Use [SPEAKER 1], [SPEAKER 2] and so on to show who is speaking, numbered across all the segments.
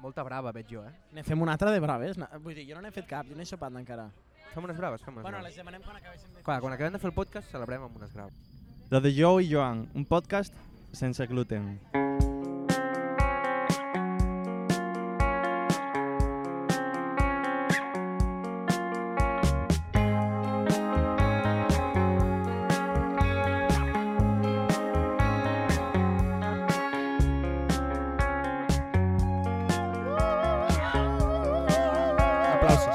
[SPEAKER 1] molta brava, veig jo, eh?
[SPEAKER 2] Ne fem una altra de braves? Na- Vull dir, jo no n'he fet cap, jo n'he sopat encara.
[SPEAKER 1] Fem unes braves, fem unes
[SPEAKER 2] Bueno, les
[SPEAKER 1] braves.
[SPEAKER 2] demanem quan acabéssim de...
[SPEAKER 1] Clar, quan acabem de fer el podcast celebrem amb unes graves.
[SPEAKER 3] La de Jou i Joan, un podcast sense gluten.
[SPEAKER 1] Aplausos.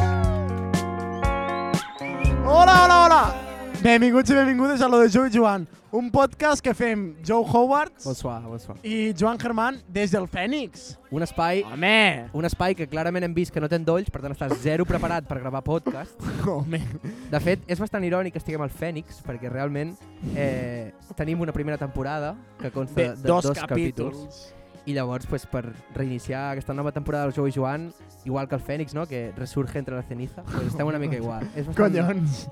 [SPEAKER 2] Hola, hola, hola! Benvinguts i benvingudes a lo de Jo i Joan, un podcast que fem Joe Howards
[SPEAKER 1] Bonsoir, bonsoir.
[SPEAKER 2] i Joan Germán des del Fènix.
[SPEAKER 1] Un espai,
[SPEAKER 2] Home!
[SPEAKER 1] un espai que clarament hem vist que no té endolls, per tant estàs zero preparat per gravar podcast.
[SPEAKER 2] Home!
[SPEAKER 1] De fet, és bastant irònic que estiguem al Fènix, perquè realment eh, tenim una primera temporada que consta de, de dos, capítols. I llavors, pues, per reiniciar aquesta nova temporada del Jou i Joan, igual que el Fènix, no? que ressurge entre la ceniza, pues estem una mica igual. És bastant,
[SPEAKER 2] Collons!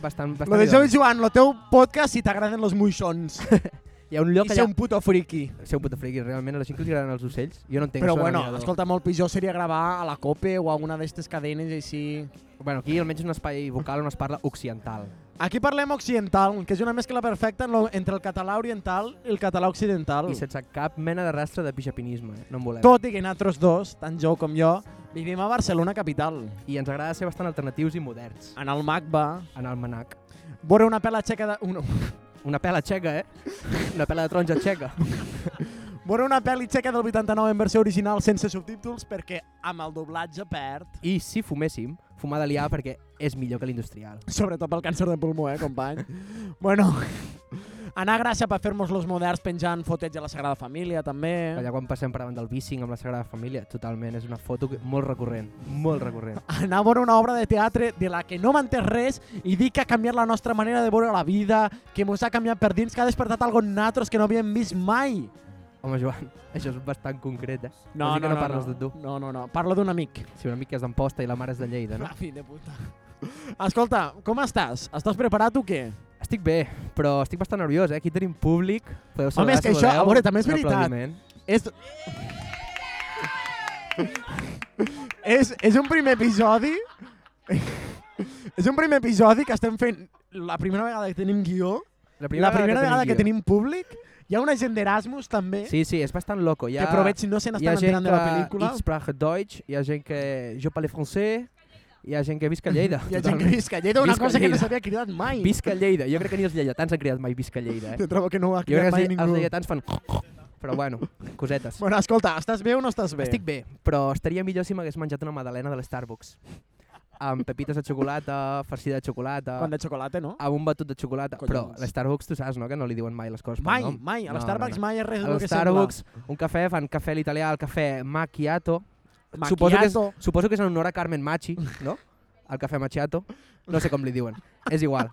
[SPEAKER 1] bastant, bastant
[SPEAKER 2] Lo de Jo i
[SPEAKER 1] irònic.
[SPEAKER 2] Joan, lo teu podcast si t'agraden los moixons.
[SPEAKER 1] Hi ha un
[SPEAKER 2] I
[SPEAKER 1] lloc
[SPEAKER 2] ser
[SPEAKER 1] allà...
[SPEAKER 2] un puto friki.
[SPEAKER 1] Ser un puto friqui, realment, a la gent que els agraden els ocells. Jo no entenc.
[SPEAKER 2] Però
[SPEAKER 1] són
[SPEAKER 2] bueno,
[SPEAKER 1] animadors.
[SPEAKER 2] escolta, molt pitjor seria gravar a la COPE o a una d'aquestes cadenes així.
[SPEAKER 1] Bueno, aquí almenys és un espai vocal on es parla occidental.
[SPEAKER 2] Aquí parlem occidental, que és una mescla perfecta en lo- entre el català oriental i el català occidental.
[SPEAKER 1] I sense cap mena de rastre de pijapinisme, eh? no en volem.
[SPEAKER 2] Oh. Tot i que nosaltres dos, tant jo com jo, vivim a Barcelona capital,
[SPEAKER 1] I ens agrada ser bastant alternatius i moderns.
[SPEAKER 2] en el MACBA,
[SPEAKER 1] En el manac.
[SPEAKER 2] veure una pela txeca de... Una,
[SPEAKER 1] Una pela txeca, eh? Una pela de taronja txeca.
[SPEAKER 2] veure una pel·li txeca del 89 en versió original sense subtítols perquè amb el doblatge perd.
[SPEAKER 1] I si fuméssim, fumar de liar perquè és millor que l'industrial.
[SPEAKER 2] Sobretot pel càncer de pulmó, eh, company? bueno, anar a Gràcia per fer-nos los moderns penjant foteig a la Sagrada Família, també.
[SPEAKER 1] Allà quan passem per davant del bicing amb la Sagrada Família, totalment, és una foto que- molt recurrent, molt recurrent.
[SPEAKER 2] anar a veure una obra de teatre de la que no m'entès res i dir que ha canviat la nostra manera de veure la vida, que mos ha canviat per dins, que ha despertat algo en nosaltres que no havíem vist mai.
[SPEAKER 1] Home, Joan, això és bastant concret, eh? Vols dir que no parles
[SPEAKER 2] no.
[SPEAKER 1] de tu.
[SPEAKER 2] No, no, no, parlo d'un amic.
[SPEAKER 1] Si una mica és d'Amposta i la mare és de Lleida, no?
[SPEAKER 2] Ah, fill de puta. Escolta, com estàs? Estàs preparat o què?
[SPEAKER 1] Estic bé, però estic bastant nerviós, eh? Aquí tenim públic, podeu saludar
[SPEAKER 2] Home, és que
[SPEAKER 1] si
[SPEAKER 2] això,
[SPEAKER 1] voleu.
[SPEAKER 2] a veure, també és
[SPEAKER 1] Un
[SPEAKER 2] veritat.
[SPEAKER 1] aplaudiment.
[SPEAKER 2] És... és, és un primer episodi... és un primer episodi que estem fent la primera vegada que tenim guió,
[SPEAKER 1] La
[SPEAKER 2] la primera vegada que
[SPEAKER 1] guió.
[SPEAKER 2] tenim públic, hi ha una gent d'Erasmus també,
[SPEAKER 1] Sí, sí, és bastant loco. Hi ha,
[SPEAKER 2] que proveig si no se
[SPEAKER 1] hi ha
[SPEAKER 2] n'estan
[SPEAKER 1] gent
[SPEAKER 2] enterant de la
[SPEAKER 1] que
[SPEAKER 2] pel·lícula.
[SPEAKER 1] ich sprach Deutsch, hi ha gent que jo parle francès, hi ha gent que visca a Lleida.
[SPEAKER 2] Hi ha gent que
[SPEAKER 1] totalment.
[SPEAKER 2] visca a Lleida, una
[SPEAKER 1] Visca
[SPEAKER 2] cosa que no
[SPEAKER 1] Lleida.
[SPEAKER 2] s'havia cridat mai.
[SPEAKER 1] Visca a Lleida. Jo crec que ni els lleidatans han cridat mai visca a Lleida, eh?
[SPEAKER 2] Jo trobo que no ho ha
[SPEAKER 1] Jo crec
[SPEAKER 2] cridat
[SPEAKER 1] que
[SPEAKER 2] mai
[SPEAKER 1] els, els
[SPEAKER 2] ningú.
[SPEAKER 1] lleidatans fan... Però bueno, cosetes.
[SPEAKER 2] Bueno, escolta, estàs bé o no estàs bé?
[SPEAKER 1] Estic bé, però estaria millor si m'hagués menjat una magdalena de l'Starbucks. Amb pepites de xocolata, farcida de xocolata,
[SPEAKER 2] Quan de xocolata, no?
[SPEAKER 1] amb un batut de xocolata.
[SPEAKER 2] Collons.
[SPEAKER 1] Però l'Starbucks tu saps, no?, que no li diuen mai les coses.
[SPEAKER 2] Mai,
[SPEAKER 1] pel nom.
[SPEAKER 2] mai. A
[SPEAKER 1] No, no,
[SPEAKER 2] l'Starbucks
[SPEAKER 1] no.
[SPEAKER 2] mai és res
[SPEAKER 1] A
[SPEAKER 2] del que sembla.
[SPEAKER 1] l'Starbucks, un cafè, fan cafè a l'italià, el cafè macchiato, Suposo que, és,
[SPEAKER 2] Macchiato.
[SPEAKER 1] suposo que és en honor a Carmen Machi, no? El cafè Machiato. No sé com li diuen. És igual.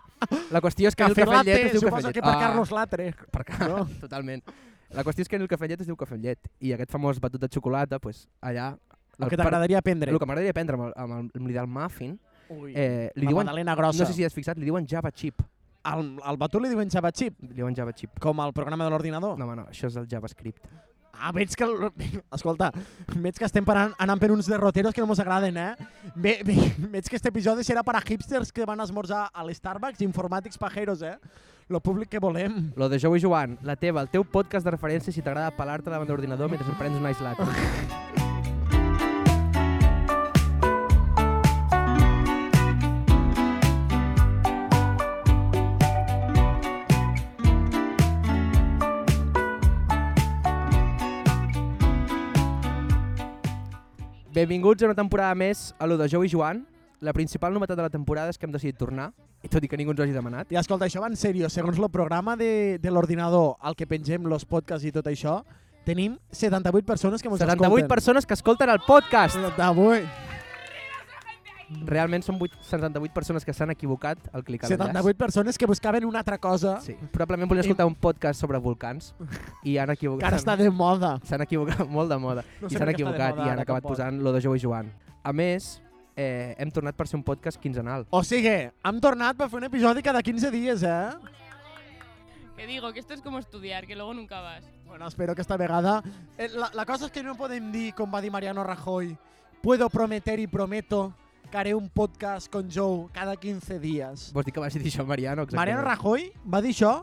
[SPEAKER 1] La qüestió és que
[SPEAKER 2] Cafè
[SPEAKER 1] el cafè amb
[SPEAKER 2] latte,
[SPEAKER 1] llet es diu cafè
[SPEAKER 2] suposo
[SPEAKER 1] amb
[SPEAKER 2] que
[SPEAKER 1] llet. Ah,
[SPEAKER 2] per Carlos Latre.
[SPEAKER 1] Per Carlos,
[SPEAKER 2] No?
[SPEAKER 1] totalment. La qüestió és que en el cafè amb llet es diu cafè amb llet. I aquest famós batut de xocolata, pues, allà...
[SPEAKER 2] El que
[SPEAKER 1] par-
[SPEAKER 2] t'agradaria aprendre.
[SPEAKER 1] El que m'agradaria aprendre amb, el, amb, el, amb l'idea del muffin,
[SPEAKER 2] Ui,
[SPEAKER 1] eh, li
[SPEAKER 2] la
[SPEAKER 1] diuen,
[SPEAKER 2] magdalena
[SPEAKER 1] no
[SPEAKER 2] grossa.
[SPEAKER 1] sé si has fixat, li diuen Java Chip.
[SPEAKER 2] Al, al batut li diuen Java Chip,
[SPEAKER 1] Li diuen Java Chip.
[SPEAKER 2] com al programa de l'ordinador.
[SPEAKER 1] No, home, no, això és el JavaScript.
[SPEAKER 2] Ah, veig que... el- Escolta, veig que estem parant, anant per uns derroteros que no mos agraden, eh? Ve, ve, veig que este episodi serà per a hipsters que van a esmorzar a l'Starbucks i informàtics pajeros, eh? Lo públic que volem.
[SPEAKER 1] Lo de Jou i Joan, la teva, el teu podcast de referència si t'agrada pelar-te davant de l'ordinador mentre et prens un ice latte. Benvinguts a una temporada més a lo de Jou i Joan. La principal novetat de la temporada és que hem decidit tornar, i tot i que ningú ens ho hagi demanat.
[SPEAKER 2] I escolta, això va en sèrio. Segons el programa de, de l'ordinador al que pengem los podcasts i tot això, tenim 78 persones que mos
[SPEAKER 1] 78
[SPEAKER 2] escolten.
[SPEAKER 1] persones que escolten el podcast.
[SPEAKER 2] 78
[SPEAKER 1] Realment són 8, 78 persones que s'han equivocat al clicar l'enllaç.
[SPEAKER 2] 78 persones que buscaven una altra cosa
[SPEAKER 1] Sí. Probablement volien escoltar un podcast sobre volcans i han
[SPEAKER 2] que ara
[SPEAKER 1] equivocat.
[SPEAKER 2] està de moda.
[SPEAKER 1] S'han equivocat molt de moda.
[SPEAKER 2] No
[SPEAKER 1] I s'han
[SPEAKER 2] sé per què està de
[SPEAKER 1] equivocat
[SPEAKER 2] moda
[SPEAKER 1] i
[SPEAKER 2] ara
[SPEAKER 1] han acabat
[SPEAKER 2] tampoc.
[SPEAKER 1] posant lo de Jou i Joan. A més, eh, hem tornat per ser un podcast quinzenal.
[SPEAKER 2] O sigui, hem tornat per fer un episodi cada 15 dies, eh?
[SPEAKER 4] Que digo, que esto es como estudiar, que luego nunca vas.
[SPEAKER 2] Bueno, espero que esta vegada... Eh, la, la cosa és que no podem dir, com va dir Mariano Rajoy, puedo prometer y prometo que haré un podcast con Joe cada 15
[SPEAKER 1] Vols
[SPEAKER 2] dies.
[SPEAKER 1] dir Pues que vas dir això, Mariano? Exactament.
[SPEAKER 2] Mariano Rajoy va dir això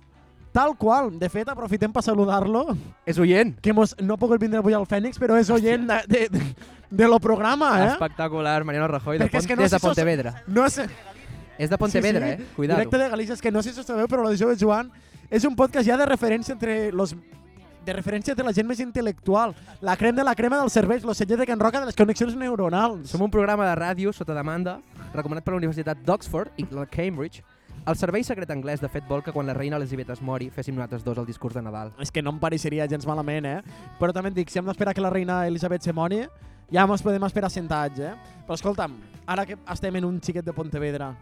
[SPEAKER 2] tal qual. De fet, aprofitem per saludar-lo,
[SPEAKER 1] És oient.
[SPEAKER 2] que mos, no ha pogut vindre avui al Fènix, però és oient de, de, de, de lo programa, eh?
[SPEAKER 1] Espectacular, Mariano Rajoy. De
[SPEAKER 2] Perquè és
[SPEAKER 1] Pont-
[SPEAKER 2] que no
[SPEAKER 1] és
[SPEAKER 2] sé
[SPEAKER 1] de
[SPEAKER 2] si sos-
[SPEAKER 1] Pontevedra.
[SPEAKER 2] No sé,
[SPEAKER 1] És de Pontevedra, eh? Cuidado.
[SPEAKER 2] Directe de Galícia, és que no sé si ho sabeu, però lo de Jove Joan és un podcast ja de referència entre los de referència entre la gent més intel·lectual, la crem de la crema dels cervells, los senyors de Can Roca de les connexions neuronals.
[SPEAKER 1] Som un programa de ràdio sota demanda recomanat per la Universitat d'Oxford i la Cambridge. El servei secret anglès, de fet, vol que quan la reina Elisabet es mori féssim nosaltres dos el discurs de Nadal.
[SPEAKER 2] És que no em pareixeria gens malament, eh? Però també et dic, si hem d'esperar que la reina Elisabet se mori, ja ens podem esperar sentats, eh? Però escolta'm, ara que estem en un xiquet de Pontevedra...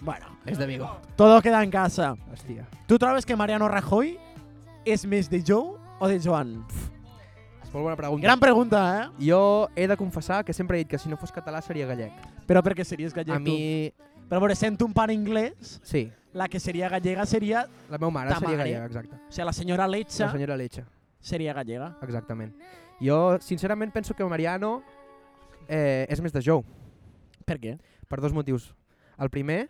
[SPEAKER 2] bueno,
[SPEAKER 1] És de Vigo.
[SPEAKER 2] todo queda en casa.
[SPEAKER 1] Hòstia.
[SPEAKER 2] Tu trobes que Mariano Rajoy és més de Joe o de Joan?
[SPEAKER 1] És molt bona pregunta.
[SPEAKER 2] Gran pregunta, eh?
[SPEAKER 1] Jo he de confessar que sempre he dit que si no fos català seria gallec.
[SPEAKER 2] Però perquè series gallec
[SPEAKER 1] A mi...
[SPEAKER 2] tu. Però a veure, sent un pare anglès,
[SPEAKER 1] Sí.
[SPEAKER 2] la que seria gallega seria...
[SPEAKER 1] La meva mare
[SPEAKER 2] Ta
[SPEAKER 1] seria
[SPEAKER 2] mare.
[SPEAKER 1] gallega, exacte.
[SPEAKER 2] O sigui, la senyora Letxa
[SPEAKER 1] La senyora Leche,
[SPEAKER 2] seria gallega.
[SPEAKER 1] exactament. Jo, sincerament, penso que Mariano eh, és més de Jou,
[SPEAKER 2] Per què?
[SPEAKER 1] per dos motius. El primer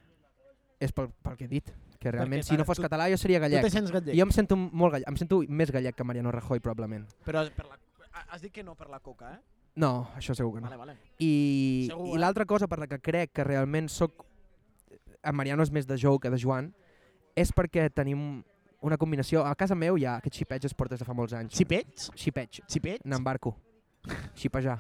[SPEAKER 1] és pel, pel que he dit, que realment si
[SPEAKER 2] t'ha-
[SPEAKER 1] no fos
[SPEAKER 2] tu-
[SPEAKER 1] català jo seria
[SPEAKER 2] Tu te
[SPEAKER 1] gallec.
[SPEAKER 2] sents gallec.
[SPEAKER 1] Jo em sento molt gallec, em sento més gallec que Mariano Rajoy, probablement.
[SPEAKER 2] Però per la... has dit que no per la coca, eh?
[SPEAKER 1] No, això segur que no.
[SPEAKER 2] Vale, vale.
[SPEAKER 1] I,
[SPEAKER 2] Segur,
[SPEAKER 1] i
[SPEAKER 2] eh?
[SPEAKER 1] l'altra cosa per la que crec que realment sóc... En Mariano és més de Jou que de Joan, és perquè tenim una combinació... A casa meu hi ha aquest xipeig es porta des de fa molts anys.
[SPEAKER 2] Xipets?
[SPEAKER 1] Xipeig.
[SPEAKER 2] Xipets?
[SPEAKER 1] N'embarco. Xipejar.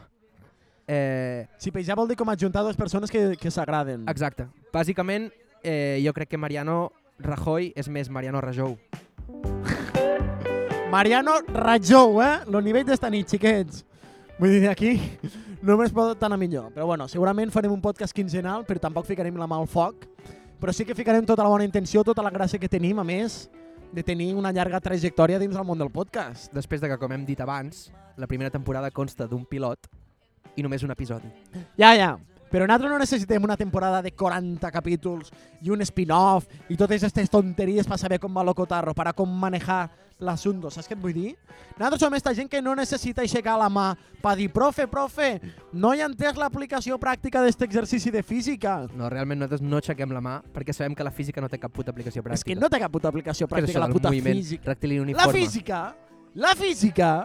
[SPEAKER 1] Eh,
[SPEAKER 2] Xipejar vol dir com adjuntar dues persones que, que s'agraden.
[SPEAKER 1] exacte. Bàsicament, eh, jo crec que Mariano Rajoy és més Mariano Rajou.
[SPEAKER 2] Mariano Rajou, eh? Lo nivell d'esta nit, xiquets. Vull dir, aquí només pot anar millor. Però bueno, segurament farem un podcast quinzenal, però tampoc ficarem la mà al foc. Però sí que ficarem tota la bona intenció, tota la gràcia que tenim, a més, de tenir una llarga trajectòria dins del món del podcast.
[SPEAKER 1] Després de que, com hem dit abans, la primera temporada consta d'un pilot i només un episodi.
[SPEAKER 2] Ja, ja. Però nosaltres no necessitem una temporada de 40 capítols i un spin-off i totes aquestes tonteries per saber com va lo cotarro, per a com manejar l'assumpto, saps què et vull dir? Nosaltres som esta gent que no necessita aixecar la mà per dir, profe, profe, no hi ha entès l'aplicació pràctica d'aquest exercici de física.
[SPEAKER 1] No, realment nosaltres no aixequem la mà perquè sabem que la física no té cap puta aplicació
[SPEAKER 2] És que
[SPEAKER 1] pràctica.
[SPEAKER 2] no té cap puta aplicació
[SPEAKER 1] Què és
[SPEAKER 2] pràctica,
[SPEAKER 1] això
[SPEAKER 2] la
[SPEAKER 1] del
[SPEAKER 2] puta
[SPEAKER 1] moviment
[SPEAKER 2] física.
[SPEAKER 1] rectilini
[SPEAKER 2] La
[SPEAKER 1] uniforme?
[SPEAKER 2] física, la física,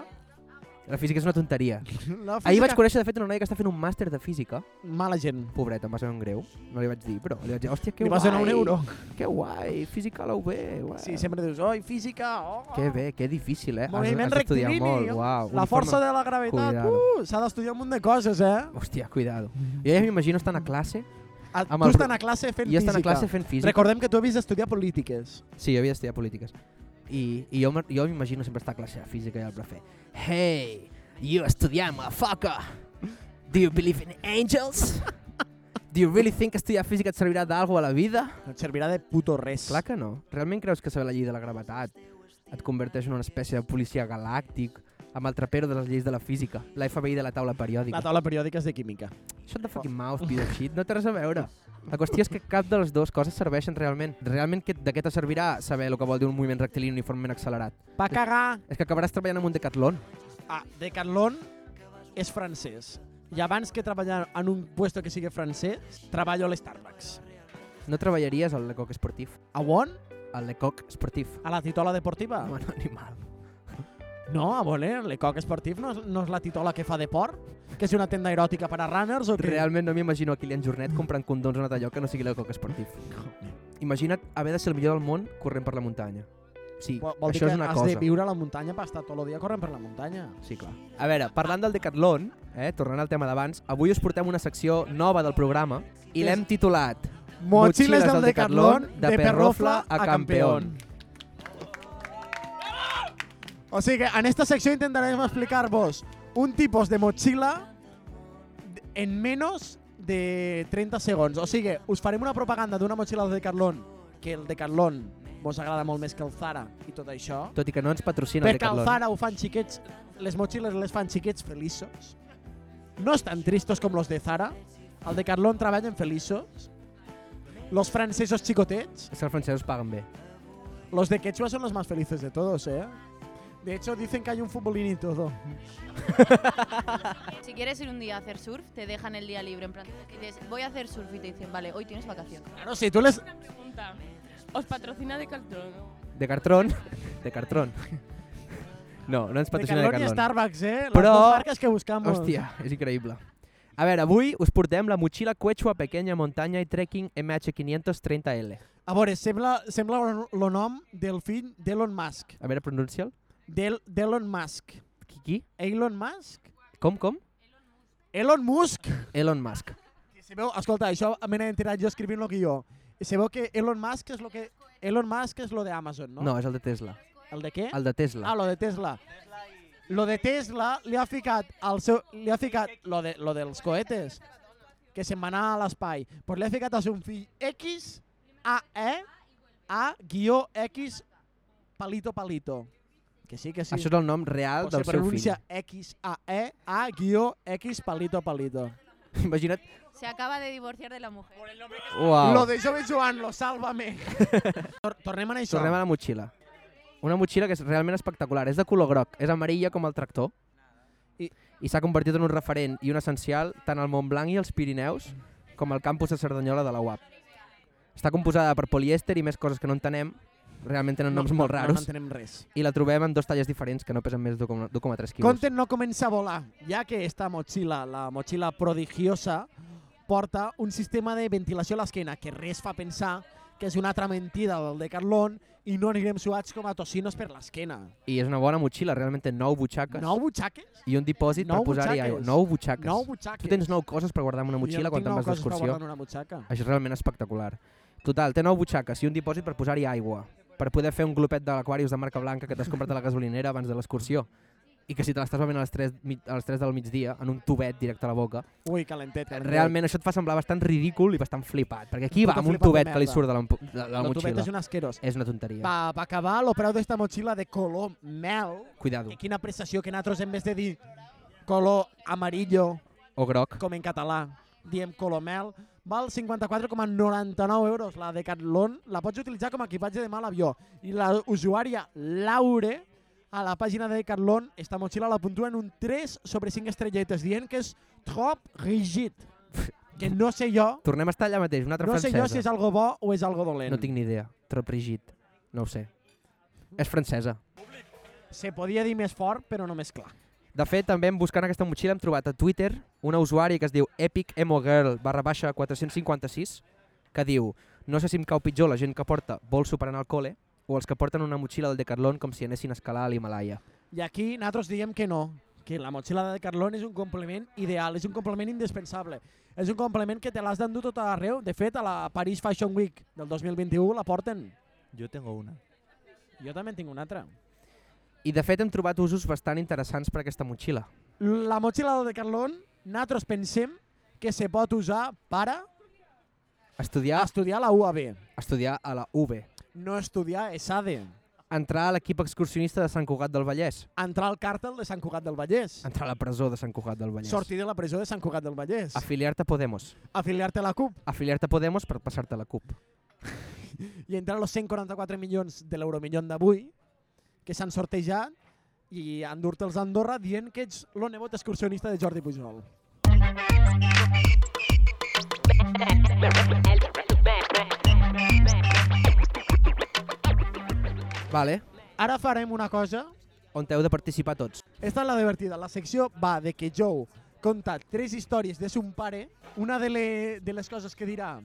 [SPEAKER 1] La física és una tonteria.
[SPEAKER 2] la física...
[SPEAKER 1] Ahir vaig conèixer, de fet, una noia que està fent un màster de física.
[SPEAKER 2] Mala gent.
[SPEAKER 1] Pobreta, em va ser un greu. No li vaig dir, però li vaig dir, hòstia, que
[SPEAKER 2] Li
[SPEAKER 1] guai.
[SPEAKER 2] vas donar un euro.
[SPEAKER 1] Que guai, física a la UB. Uau.
[SPEAKER 2] Sí, sempre dius, oi, física, oh.
[SPEAKER 1] Que bé, que difícil, eh? Has-
[SPEAKER 2] Moviment
[SPEAKER 1] has d'estudiar
[SPEAKER 2] rectilini,
[SPEAKER 1] molt, uau.
[SPEAKER 2] La força de la gravetat,
[SPEAKER 1] Cuidado.
[SPEAKER 2] uh, s'ha d'estudiar un munt de coses, eh?
[SPEAKER 1] Hòstia, cuidado. Jo ja m'imagino estant a classe,
[SPEAKER 2] A,
[SPEAKER 1] Amb
[SPEAKER 2] Ah, tu
[SPEAKER 1] el pro-
[SPEAKER 2] estan a classe fent
[SPEAKER 1] i estant
[SPEAKER 2] física.
[SPEAKER 1] a classe fent física.
[SPEAKER 2] Recordem que tu havies d'estudiar polítiques.
[SPEAKER 1] Sí, jo havia d'estudiar polítiques. I, i jo, me- jo m'imagino sempre estar a classe de física i el profe. Hey, you estudiar, motherfucker! Do you believe in angels? Do you really think que estudiar física et servirà d'algo a la vida?
[SPEAKER 2] No et servirà de puto res.
[SPEAKER 1] Clar que no. Realment creus que saber la llei de la gravetat et converteix en una espècie de policia galàctic amb el trapero de les lleis de la física, la FBI de la taula periòdica.
[SPEAKER 2] La taula periòdica és de química.
[SPEAKER 1] Shut the fucking mouth, piece of shit. No té res a veure. La qüestió és que cap de les dues coses serveixen realment. Realment que- de què te servirà saber el que vol dir un moviment rectilini uniformement accelerat?
[SPEAKER 2] Pa cagar.
[SPEAKER 1] És que acabaràs treballant en un decatlón.
[SPEAKER 2] Ah, Decathlon és francès. I abans que treballar en un puesto que sigui francès, treballo a l'Starbucks.
[SPEAKER 1] No treballaries al Lecoq esportiu.
[SPEAKER 2] A on?
[SPEAKER 1] Al Lecoq esportiu.
[SPEAKER 2] A la titola deportiva?
[SPEAKER 1] Ah. Bueno, animal.
[SPEAKER 2] No, a on, eh? L'Ecoc Esportiv no és, no és la titola que fa deport? Que és una tenda eròtica per a runners o que...
[SPEAKER 1] Realment no m'imagino a Kilian Jornet comprant condons a un allò que no sigui Lecoq esportiu. Imagina't haver de ser el millor del món corrent per la muntanya. Sí,
[SPEAKER 2] Vol, vol dir
[SPEAKER 1] això
[SPEAKER 2] que
[SPEAKER 1] és una
[SPEAKER 2] has
[SPEAKER 1] cosa.
[SPEAKER 2] de viure a la muntanya per estar tot el dia corrent per la muntanya.
[SPEAKER 1] Sí, clar. A veure, parlant del Decathlon, eh, tornant al tema d'abans, avui us portem una secció nova del programa i l'hem titulat
[SPEAKER 2] Motxilles del
[SPEAKER 1] Decathlon,
[SPEAKER 2] Decathlon, de Perrofla a Campeón. O sigui que en esta secció intentarem explicar-vos un tipus de motxilla en menos de 30 segons. O sigui, us farem una propaganda d'una motxilla del Decathlon, que el Decathlon mos agrada molt més que el Zara i tot això.
[SPEAKER 1] Tot i que no ens patrocina el
[SPEAKER 2] perquè el
[SPEAKER 1] Decathlon.
[SPEAKER 2] Zara ho fan xiquets, les motxilles les fan xiquets feliços. No estan tristos com los de Zara. El Decathlon treballen feliços. Los francesos xicotets
[SPEAKER 1] És que els francesos paguen bé.
[SPEAKER 2] Los de Quechua son los más felices de todos, ¿eh? De hecho, dicen que hay un futbolín y todo.
[SPEAKER 4] Si quieres ir un día a hacer surf, te dejan el día libre. En plan, dices, voy a hacer surf y te dicen, vale, hoy tienes vacaciones.
[SPEAKER 2] Claro, si tú les...
[SPEAKER 5] Una pregunta. ¿Os patrocina de cartón?
[SPEAKER 1] De Cartrón. De Cartrón. No, no ens
[SPEAKER 2] De
[SPEAKER 1] patrocina de
[SPEAKER 2] Carlón i
[SPEAKER 1] Carlón.
[SPEAKER 2] Starbucks, eh? Les
[SPEAKER 1] Però-
[SPEAKER 2] dos marques que buscamos.
[SPEAKER 1] Hòstia, és increïble. A veure, avui us portem la motxilla Quechua Pequeña Montaña i Trekking MH530L.
[SPEAKER 2] A veure, sembla, sembla el- lo nom del fill d'Elon Musk.
[SPEAKER 1] A veure, pronuncia'l.
[SPEAKER 2] Del- D'Elon Musk.
[SPEAKER 1] Qui, qui?
[SPEAKER 2] Elon Musk?
[SPEAKER 1] Com, com?
[SPEAKER 2] Elon Musk?
[SPEAKER 1] Elon Musk.
[SPEAKER 2] Que se veu, escolta, això me n'he enterat jo escrivint lo que jo. Se veu que Elon Musk és lo que... Elon Musk és lo de Amazon, no?
[SPEAKER 1] No, és el de Tesla.
[SPEAKER 2] El de què?
[SPEAKER 1] El de Tesla.
[SPEAKER 2] Ah, lo de Tesla. Lo de Tesla li ha ficat al seu... Li ha ficat lo, de, lo dels cohetes, que se'n va anar a l'espai. Pues li ha ficat a seu fill X, A, E, A, guió, X, palito, palito. Que sí, que sí.
[SPEAKER 1] Això és el nom real
[SPEAKER 2] Pues
[SPEAKER 1] del
[SPEAKER 2] se
[SPEAKER 1] seu fill.
[SPEAKER 2] pronuncia X, A, E, A, guió, X, palito, palito.
[SPEAKER 1] Imagina't...
[SPEAKER 4] Se acaba de divorciar de la mujer.
[SPEAKER 1] Uau.
[SPEAKER 2] Lo de jove Joan, lo sálvame. Tor tornem a això.
[SPEAKER 1] Tornem a la motxilla. Una motxilla que és realment espectacular. És de color groc, és amarilla com el tractor. I,
[SPEAKER 2] I-
[SPEAKER 1] i s'ha convertit en un referent i un essencial tant al Montblanc i als Pirineus com al campus de Cerdanyola de la UAP. Està composada per polièster i més coses que no entenem. Realment tenen noms molt
[SPEAKER 2] No, no
[SPEAKER 1] raros.
[SPEAKER 2] entenem res.
[SPEAKER 1] I la trobem en dos talles diferents que no pesen més de 2,3 quilos.
[SPEAKER 2] Content no comença a volar, ja que esta motxilla, la motxilla prodigiosa, porta un sistema de ventilació a l'esquena que res fa pensar que és una altra mentida del de Carlón i no anirem suats com a tocinos per l'esquena.
[SPEAKER 1] I és una bona motxilla, realment té 9 butxaques
[SPEAKER 2] Nou butxaques?
[SPEAKER 1] i un dipòsit
[SPEAKER 2] Nou
[SPEAKER 1] per posar-hi aigua.
[SPEAKER 2] butxaques.
[SPEAKER 1] 9 butxaques.
[SPEAKER 2] Nou butxaques.
[SPEAKER 1] Tu tens 9 coses per guardar en una motxilla quan te'n vas d'excursió.
[SPEAKER 2] Jo tinc nou coses per guardar en una butxaca.
[SPEAKER 1] Això és realment espectacular. Total, té nou butxaques i un dipòsit per posar-hi aigua, per poder fer un glopet de l'Aquarius de marca blanca que t'has comprat a la gasolinera abans de l'excursió. I que si te l'estàs bevent a les, 3, a les 3 del migdia, en un tubet directe a la boca,
[SPEAKER 2] Ui, calentet, calentet.
[SPEAKER 1] realment això et fa semblar bastant ridícul i bastant flipat, perquè aquí va
[SPEAKER 2] Puto
[SPEAKER 1] amb un
[SPEAKER 2] flipat de
[SPEAKER 1] tubet que li
[SPEAKER 2] merda.
[SPEAKER 1] surt de la, de, de la
[SPEAKER 2] el tubet
[SPEAKER 1] motxilla.
[SPEAKER 2] és un asqueros.
[SPEAKER 1] És una tonteria.
[SPEAKER 2] Va, va acabar el preu d'esta motxilla de color mel.
[SPEAKER 1] Cuidado.
[SPEAKER 2] Que quina prestació que nosaltres en vez de dir color amarillo,
[SPEAKER 1] O groc.
[SPEAKER 2] com en català diem Colomel, val 54,99 euros. La de Catlon la pots utilitzar com a equipatge de mà a l'avió. I la usuària Laure, a la pàgina de Catlon, esta motxilla la puntua en un 3 sobre 5 estrelletes, dient que és trop rigid. Que no sé jo,
[SPEAKER 1] Tornem a estar allà mateix, una altra
[SPEAKER 2] no sé
[SPEAKER 1] francesa.
[SPEAKER 2] jo si és algo bo o és algo dolent.
[SPEAKER 1] No tinc ni idea. Troprigit. No ho sé. És francesa.
[SPEAKER 2] Se podia dir més fort, però no més clar.
[SPEAKER 1] De fet, també en buscant aquesta motxilla hem trobat a Twitter una usuària que es diu epicemogirl barra baixa 456 que diu no sé si em cau pitjor la gent que porta bolso per anar al col·le o els que porten una motxilla del Decathlon com si anessin a escalar a l'Himalaya.
[SPEAKER 2] I aquí nosaltres diem que no, que la motxilla de Carlón és un complement ideal, és un complement indispensable. És un complement que te l'has d'endur tot arreu. De fet, a la Paris Fashion Week del 2021 la porten.
[SPEAKER 3] Yo tengo una.
[SPEAKER 2] Jo també en tinc una altra.
[SPEAKER 1] I de fet hem trobat usos bastant interessants per aquesta motxilla.
[SPEAKER 2] La motxilla de Carlón, nosaltres pensem que se pot usar per a
[SPEAKER 1] Estudiar,
[SPEAKER 2] estudiar a la UAB.
[SPEAKER 1] estudiar a la UB.
[SPEAKER 2] No estudiar ESADE.
[SPEAKER 1] Entrar a l'equip excursionista de Sant Cugat del Vallès.
[SPEAKER 2] Entrar al càrtel de Sant Cugat del Vallès.
[SPEAKER 1] Entrar a la presó de Sant Cugat del Vallès.
[SPEAKER 2] Sortir de la presó de Sant Cugat del Vallès.
[SPEAKER 1] Afiliar-te a Podemos.
[SPEAKER 2] Afiliar-te a la CUP.
[SPEAKER 1] Afiliar-te a Podemos per passar-te a la CUP.
[SPEAKER 2] i entre els 144 milions de l'euromilló d'avui que s'han sortejat i endur-te'ls a Andorra dient que ets lo nebot excursionista de Jordi Pujol.
[SPEAKER 1] Vale.
[SPEAKER 2] Ara farem una cosa,
[SPEAKER 1] On heu de participar tots.
[SPEAKER 2] esta és la divertida, la secció va de que Joe conta tres històries de son pare, una de, le, de les coses que dirà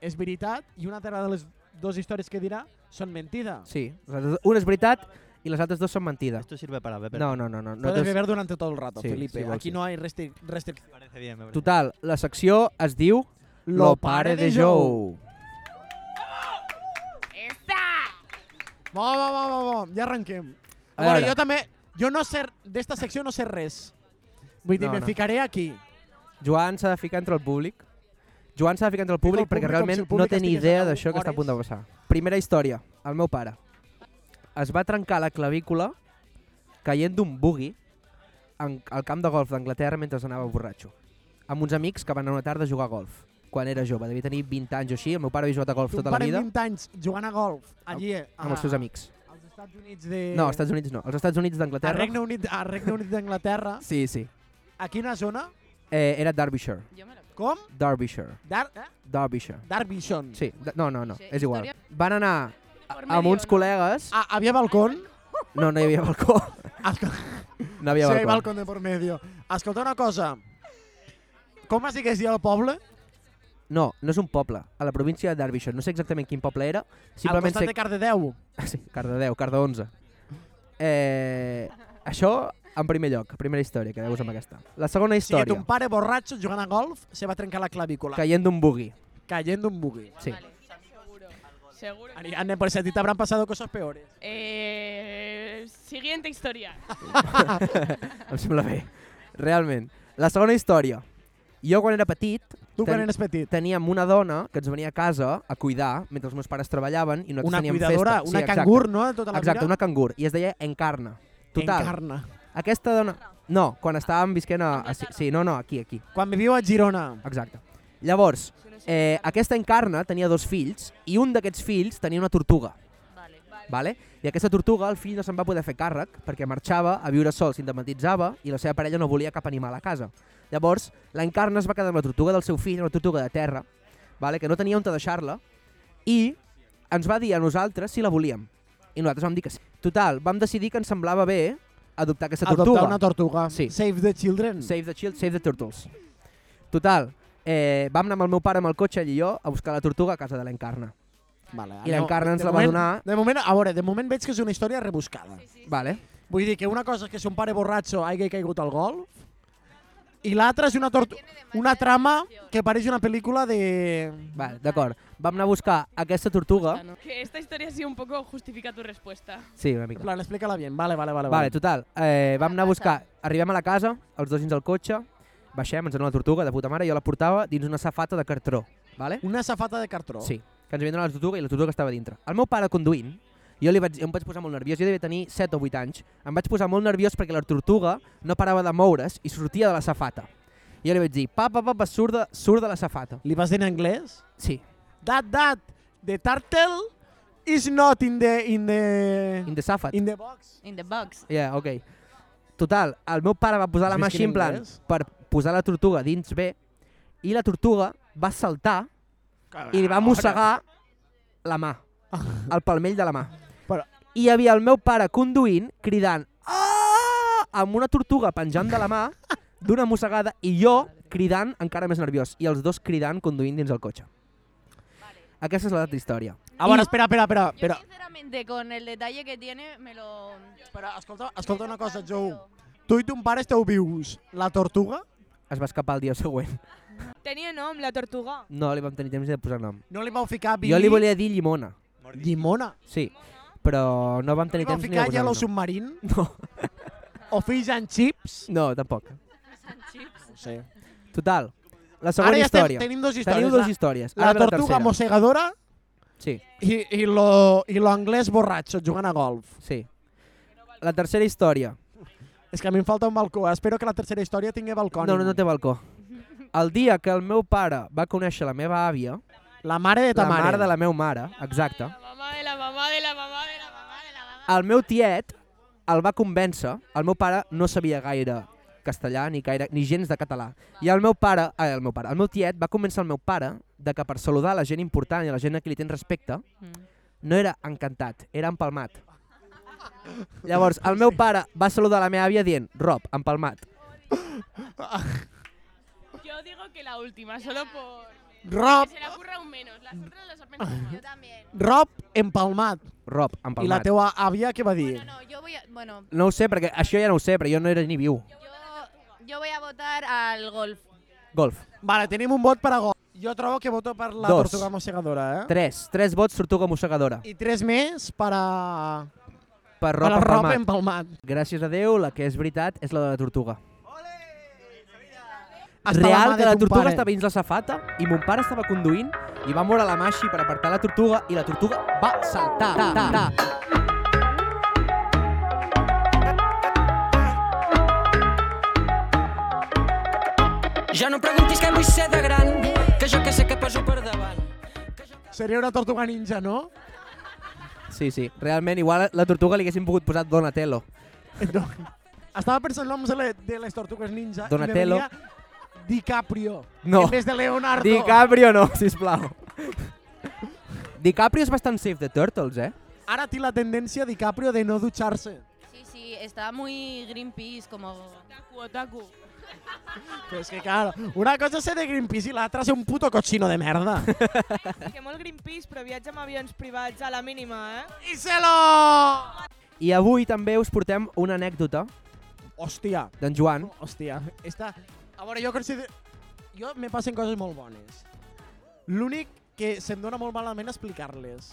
[SPEAKER 2] és veritat i una altra de les dues històries que dirà són mentida.
[SPEAKER 1] Sí, les altres- una és veritat i les altres dues són mentida.
[SPEAKER 3] Esto sirve para beber.
[SPEAKER 1] No, no, no. no, no
[SPEAKER 2] Podes
[SPEAKER 1] dos-
[SPEAKER 2] beber durant tot el rato,
[SPEAKER 1] Sí,
[SPEAKER 2] Felipe.
[SPEAKER 1] sí, vols
[SPEAKER 2] Aquí
[SPEAKER 1] dir.
[SPEAKER 2] no hi ha restric... restric...
[SPEAKER 3] Me parece bien, me parece
[SPEAKER 1] Total, la secció es diu Lo pare de Joe.
[SPEAKER 2] Va, va, va, va, va. ja arrenquem.
[SPEAKER 1] A
[SPEAKER 2] A veure,
[SPEAKER 1] veure.
[SPEAKER 2] jo també... Jo no sé... D'esta secció no sé res. Vull dir,
[SPEAKER 1] No,
[SPEAKER 2] no, me
[SPEAKER 1] no.
[SPEAKER 2] ficaré aquí.
[SPEAKER 1] Joan s'ha de ficar entre el públic. Joan s'ha de ficar entre el
[SPEAKER 2] Fica
[SPEAKER 1] públic
[SPEAKER 2] el
[SPEAKER 1] perquè
[SPEAKER 2] públic com si
[SPEAKER 1] realment
[SPEAKER 2] el
[SPEAKER 1] no
[SPEAKER 2] públic
[SPEAKER 1] té ni
[SPEAKER 2] estigués
[SPEAKER 1] idea
[SPEAKER 2] allà
[SPEAKER 1] d'això que està a punt de
[SPEAKER 2] hores.
[SPEAKER 1] passar. Primera història, el meu pare. Es va trencar la clavícula caient d'un bugui en, al camp de golf d'Anglaterra mentre anava borratxo. Amb uns amics que van anar una tarda a jugar a golf quan era jove, devia tenir 20 anys o així, el meu pare havia jugat a golf
[SPEAKER 2] Ton
[SPEAKER 1] tota la
[SPEAKER 2] pare Ah. amb
[SPEAKER 1] vida
[SPEAKER 2] 20 anys jugant a golf, allí, a,
[SPEAKER 1] amb els seus amics.
[SPEAKER 2] als Estats Units de...
[SPEAKER 1] No, als Estats Units no. Als Estats Units
[SPEAKER 2] A
[SPEAKER 1] d'Anglaterra.
[SPEAKER 2] Regne Unit, a Regne Unit d'Anglaterra.
[SPEAKER 1] Sí, sí.
[SPEAKER 2] A quina zona?
[SPEAKER 1] Eh, era Derbyshire.
[SPEAKER 5] Yo me lo creo.
[SPEAKER 2] Com?
[SPEAKER 1] Derbyshire.
[SPEAKER 2] Dar eh?
[SPEAKER 1] Derbyshire.
[SPEAKER 2] Darbishon.
[SPEAKER 1] Sí, de- no, no, no,
[SPEAKER 4] Mm. Sí,
[SPEAKER 1] és igual.
[SPEAKER 4] història-
[SPEAKER 1] Van anar
[SPEAKER 5] Por
[SPEAKER 1] amb
[SPEAKER 5] medio,
[SPEAKER 1] uns
[SPEAKER 5] ¿no?
[SPEAKER 1] col·legues...
[SPEAKER 2] Ah, havia balcó.
[SPEAKER 1] No, no hi havia balcó.
[SPEAKER 2] Escol...
[SPEAKER 1] No
[SPEAKER 2] Sí,
[SPEAKER 1] havia
[SPEAKER 2] hi ha
[SPEAKER 1] balcó.
[SPEAKER 2] balcó de por medio. Escolta una cosa. Com es digués dir el poble?
[SPEAKER 1] No, no és un poble. A la província de Derbyshire. No sé exactament quin poble era.
[SPEAKER 2] Al
[SPEAKER 1] Simplement
[SPEAKER 2] costat
[SPEAKER 1] sé...
[SPEAKER 2] de Cardedeu.
[SPEAKER 1] Sí, Cardedeu, Carda 11. Eh, això en primer lloc, primera història, quedeu-vos amb aquesta. La segona
[SPEAKER 2] O sigui,
[SPEAKER 1] història,
[SPEAKER 2] ton pare borratxo jugant a golf se va trencar la clavícula.
[SPEAKER 1] caient d'un bugui.
[SPEAKER 2] Caient d'un bugui.
[SPEAKER 1] Sí.
[SPEAKER 5] Vale, seguro. Seguro.
[SPEAKER 2] Ani- Anne, pues a ti te habrán pasado cosas peores.
[SPEAKER 5] Eh, siguiente historia.
[SPEAKER 1] em sembla bé. Realment. La segona història. Jo quan era petit
[SPEAKER 2] Tu quan
[SPEAKER 1] Ten-
[SPEAKER 2] eres petit.
[SPEAKER 1] teníem una dona que ens venia a casa a cuidar mentre els meus pares treballaven i nosaltres
[SPEAKER 2] Una
[SPEAKER 1] teníem
[SPEAKER 2] cuidadora,
[SPEAKER 1] festa.
[SPEAKER 2] una
[SPEAKER 1] sí, exacte.
[SPEAKER 2] cangur, no? Tota la
[SPEAKER 1] Exacte,
[SPEAKER 2] vida.
[SPEAKER 1] una cangur. I es deia Encarna. Total,
[SPEAKER 2] Encarna.
[SPEAKER 1] aquesta dona... No, quan estàvem visquent a... a...
[SPEAKER 5] Anglaterra.
[SPEAKER 1] Sí, no, no, aquí, aquí.
[SPEAKER 2] Quan viviu a Girona.
[SPEAKER 1] Exacte. Llavors, eh, aquesta Encarna tenia dos fills i un d'aquests fills tenia una tortuga.
[SPEAKER 4] Vale.
[SPEAKER 1] Vale? I aquesta tortuga, el fill no se'n va poder fer càrrec perquè marxava a viure sol, s'independitzava i la seva parella no volia cap animal a casa. Llavors, l'Encarna es va quedar amb la tortuga del seu fill, una tortuga de terra, vale? que no tenia on deixar-la, i ens va dir a nosaltres si la volíem. I nosaltres vam dir que sí. Total, vam decidir que ens semblava bé adoptar aquesta tortuga.
[SPEAKER 2] Adoptar una tortuga.
[SPEAKER 1] Sí.
[SPEAKER 2] Save the children.
[SPEAKER 1] Save the Child, Save the Turtles. Total, eh, vam anar amb el meu pare amb el cotxe ell i jo a buscar la tortuga a casa de l'Encarna.
[SPEAKER 2] Vale,
[SPEAKER 1] I l'Encarna ens
[SPEAKER 2] de
[SPEAKER 1] la va
[SPEAKER 2] moment-
[SPEAKER 1] donar.
[SPEAKER 2] De moment, a veure, de moment veig que és una història rebuscada.
[SPEAKER 1] Vale.
[SPEAKER 2] Vull dir que una cosa és que son pare borratxo hagi caigut al golf i l'altra és una, tortu- una trama que pareix una pel·lícula de...
[SPEAKER 1] Vale, d'acord. Vam anar a buscar aquesta tortuga.
[SPEAKER 5] Que esta historia sí un poco justifica tu respuesta.
[SPEAKER 1] Sí, una
[SPEAKER 2] En
[SPEAKER 1] mica.
[SPEAKER 2] plan, explica-la bien. Vale, vale, vale.
[SPEAKER 1] Vale, total. Eh, vam anar a buscar... Arribem a la casa, els dos dins del cotxe, baixem, ens donen la tortuga de puta mare, jo la portava dins una safata de cartró. Vale?
[SPEAKER 2] Una safata de cartró.
[SPEAKER 1] Sí, que ens havien donat la tortuga i la tortuga estava dintre. El meu pare conduint, jo li vaig, em vaig posar molt nerviós, jo devia tenir 7 o 8 anys, em vaig posar molt nerviós perquè la tortuga no parava de moure's i sortia de la safata. I jo li vaig dir, papa, papa, surt de, surt de la safata.
[SPEAKER 2] Li vas dir en anglès?
[SPEAKER 1] Sí,
[SPEAKER 2] That, that, the turtle is not in the... In the...
[SPEAKER 1] in the safat.
[SPEAKER 2] In the box.
[SPEAKER 4] In the box.
[SPEAKER 1] Yeah, ok. Total, el meu pare va posar la
[SPEAKER 2] Has
[SPEAKER 1] mà
[SPEAKER 2] vist
[SPEAKER 1] així
[SPEAKER 2] quin
[SPEAKER 1] en plan
[SPEAKER 2] anglès?
[SPEAKER 1] per posar la tortuga dins bé i la tortuga va saltar i li va mossegar la mà, el palmell de la mà.
[SPEAKER 2] Però-
[SPEAKER 1] I hi havia el meu pare conduint, cridant "Ah!", amb una tortuga penjant de la mà d'una mossegada i jo cridant encara més nerviós i els dos cridant conduint dins el cotxe. Aquesta és la història.
[SPEAKER 2] A veure, espera, espera, espera.
[SPEAKER 4] Yo
[SPEAKER 2] espera.
[SPEAKER 4] sinceramente con el detalle que tiene me lo...
[SPEAKER 2] Espera, escolta, escolta una cosa, Joe. Tu i ton pare esteu vius. La tortuga?
[SPEAKER 1] Es va escapar el dia següent.
[SPEAKER 6] Tenia nom, la tortuga.
[SPEAKER 1] No li vam tenir temps ni de posar nom.
[SPEAKER 2] No li vau ficar Billy?
[SPEAKER 1] Jo li volia dir llimona,
[SPEAKER 2] Llimona.
[SPEAKER 1] sí, però no vam
[SPEAKER 2] No li
[SPEAKER 1] tenir
[SPEAKER 2] vau
[SPEAKER 1] temps ni de
[SPEAKER 2] ficar
[SPEAKER 1] posar
[SPEAKER 2] Yellow
[SPEAKER 1] nom.
[SPEAKER 2] Submarine?
[SPEAKER 1] No,
[SPEAKER 2] O Fish and Chips?
[SPEAKER 1] no, tampoc.
[SPEAKER 2] No sé.
[SPEAKER 1] Total, la
[SPEAKER 2] Ara
[SPEAKER 1] següent
[SPEAKER 2] ja estem,
[SPEAKER 1] història.
[SPEAKER 2] tenim dos històries. ah.
[SPEAKER 1] Teniu dues històries.
[SPEAKER 2] la,
[SPEAKER 1] Ara ve
[SPEAKER 2] la tortuga
[SPEAKER 1] tercera.
[SPEAKER 2] mossegadora
[SPEAKER 1] Sí,
[SPEAKER 2] i, i, lo, i l'anglès borratxo jugant a golf.
[SPEAKER 1] sí. La tercera història.
[SPEAKER 2] És que a mi em falta un balcó. Espero que la tercera història tingui balcó.
[SPEAKER 1] No, no, no té balcó. El dia que el meu pare va conèixer la meva àvia,
[SPEAKER 2] La mare de ta
[SPEAKER 1] la
[SPEAKER 2] mare.
[SPEAKER 1] mare de la meva mare, exacte,
[SPEAKER 5] La mamá de la mamá de la mamá de la mamá de la mamá.
[SPEAKER 1] el meu tiet el va convèncer, el meu pare no sabia gaire castellà ni gaire, ni gens de català. I el meu pare, eh, el meu pare, el meu tiet va convèncer el meu pare de que per saludar la gent important i la gent a qui li tens respecte, no era encantat, era empalmat. Llavors, el meu pare va saludar la meva àvia dient, Rob, empalmat.
[SPEAKER 5] Yo digo que la última, solo por... Que
[SPEAKER 2] Rob,
[SPEAKER 5] se le ocurra un menos. Las otras las apenas
[SPEAKER 4] Yo también.
[SPEAKER 2] Rob empalmat.
[SPEAKER 1] Rob,
[SPEAKER 2] I la
[SPEAKER 1] empalmat.
[SPEAKER 2] teua àvia què va dir?
[SPEAKER 4] Bueno, no, yo voy a... Bueno,
[SPEAKER 1] No ho sé, perquè això ja no ho sé, però jo no era ni viu.
[SPEAKER 4] yo, yo voy a votar al golf.
[SPEAKER 1] Golf.
[SPEAKER 2] Vale, tenim un vot per a golf. Jo trobo que voto per la
[SPEAKER 1] Dos.
[SPEAKER 2] tortuga mossegadora, eh?
[SPEAKER 1] Tres. Tres vots, tortuga mossegadora.
[SPEAKER 2] I tres més per a...
[SPEAKER 1] Per
[SPEAKER 2] per
[SPEAKER 1] Rob
[SPEAKER 2] a Rob
[SPEAKER 1] empalmat.
[SPEAKER 2] empalmat.
[SPEAKER 1] Gràcies a Déu, la que és veritat és la de la tortuga.
[SPEAKER 2] Està
[SPEAKER 1] Real,
[SPEAKER 2] mà de
[SPEAKER 1] que la
[SPEAKER 2] ton
[SPEAKER 1] tortuga
[SPEAKER 2] pare.
[SPEAKER 1] estava dins la safata i mon pare estava conduint i va moure la mà així per apartar la tortuga i la tortuga va saltar. Ta, ta, ta.
[SPEAKER 7] Ja no em preguntis què vull ser de gran, que jo que sé que poso per davant.
[SPEAKER 2] Seria una tortuga ninja, no?
[SPEAKER 1] Sí, sí. Realment, igual a la tortuga li haguessin pogut posar Donatello.
[SPEAKER 2] No. Estava pensant l'home de, le- de les tortugues ninja
[SPEAKER 1] Donatello.
[SPEAKER 2] i me venia DiCaprio
[SPEAKER 1] No.
[SPEAKER 2] en vez de Leonardo.
[SPEAKER 1] DiCaprio no, sisplau. DiCaprio és bastant safe de Turtles, eh?
[SPEAKER 2] Ara té la tendència DiCaprio de no dutxar-se.
[SPEAKER 4] Sí, sí, está muy Greenpeace, como...
[SPEAKER 5] Otaku, otaku.
[SPEAKER 2] Però és que, clar, una cosa és ser de Greenpeace i l'altra ser un puto cochino de merda.
[SPEAKER 6] Que molt Greenpeace, però viatja amb avions privats a la mínima, eh?
[SPEAKER 2] I se lo...
[SPEAKER 1] I avui també us portem una anècdota
[SPEAKER 2] Hòstia.
[SPEAKER 1] d'en Joan.
[SPEAKER 2] Hòstia. Esta... A veure, jo considero... Jo me passen coses molt bones. L'únic que se'm dona molt malament explicar-les.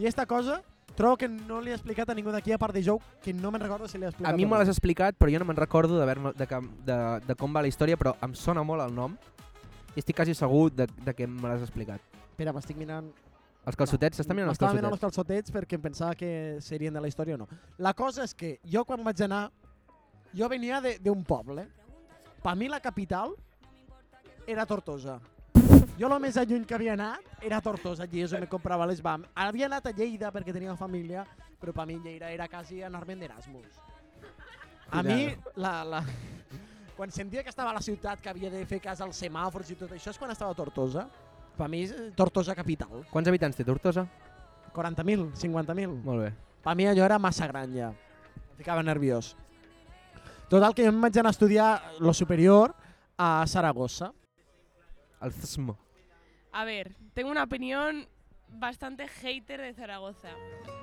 [SPEAKER 2] I esta cosa trobo que no li he explicat a ningú d'aquí, a part de Jou, que no me'n recordo si l'he
[SPEAKER 1] A
[SPEAKER 2] explicat
[SPEAKER 1] mi
[SPEAKER 2] o
[SPEAKER 1] me
[SPEAKER 2] no.
[SPEAKER 1] l'has explicat, però jo no me'n recordo de, de, que- de, de com va la història, però em sona molt el nom i estic quasi segur de, de que me l'has explicat.
[SPEAKER 2] Espera, m'estic mirant...
[SPEAKER 1] Els calçotets? S'està mirant els
[SPEAKER 2] M'estava mirant
[SPEAKER 1] calçotets?
[SPEAKER 2] els calçotets perquè em pensava que serien de la història o no. La cosa és que jo quan vaig anar, jo venia de- d'un poble. Per mi la capital era Tortosa. Jo el més lluny que havia anat era Tortosa, allí és on me comprava les BAM. Havia anat a Lleida perquè tenia família, però per mi Lleida era quasi anar-me'n d'Erasmus. A mi, la, la... quan sentia que estava a la ciutat, que havia de fer cas als semàfors i tot això, és quan estava a Tortosa. Per mi, és, eh, Tortosa capital.
[SPEAKER 1] Quants habitants té Tortosa?
[SPEAKER 2] 40.000, 50.000.
[SPEAKER 1] Molt bé.
[SPEAKER 2] Per mi allò era massa gran ja. Em ficava nerviós. Total, que jo em vaig anar a estudiar lo superior a Saragossa.
[SPEAKER 1] El FSM.
[SPEAKER 5] A ver, tengo una opinión bastante hater de Zaragoza.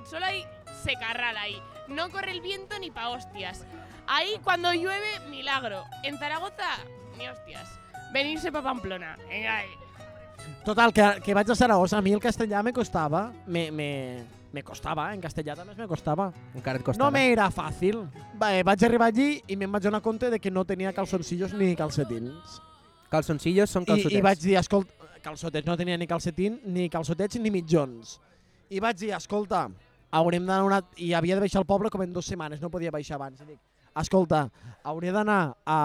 [SPEAKER 5] Solo hay secarral ahí. No corre el viento ni pa' hostias. Ahí cuando llueve, milagro. En Zaragoza, ni hostias. Venirse pa' Pamplona. Venga eh. ahí.
[SPEAKER 2] Total, que, que vaig a Saragossa. A mi el castellà me costava. Me, me, me costava, eh? en castellà també me costava.
[SPEAKER 1] Encara et costa.
[SPEAKER 2] No me era fàcil. Va, eh, vaig arribar allí i me'n vaig donar compte de que no tenia calzoncillos ni calcetins.
[SPEAKER 1] Calçoncillos són calçotets.
[SPEAKER 2] I, I vaig dir, escolta, calçotets, no tenia ni calcetín, ni calçotets, ni mitjons. I vaig dir, escolta, haurem d'anar a una... I havia de baixar al poble com en dues setmanes, no podia baixar abans. I dic, escolta, hauré d'anar a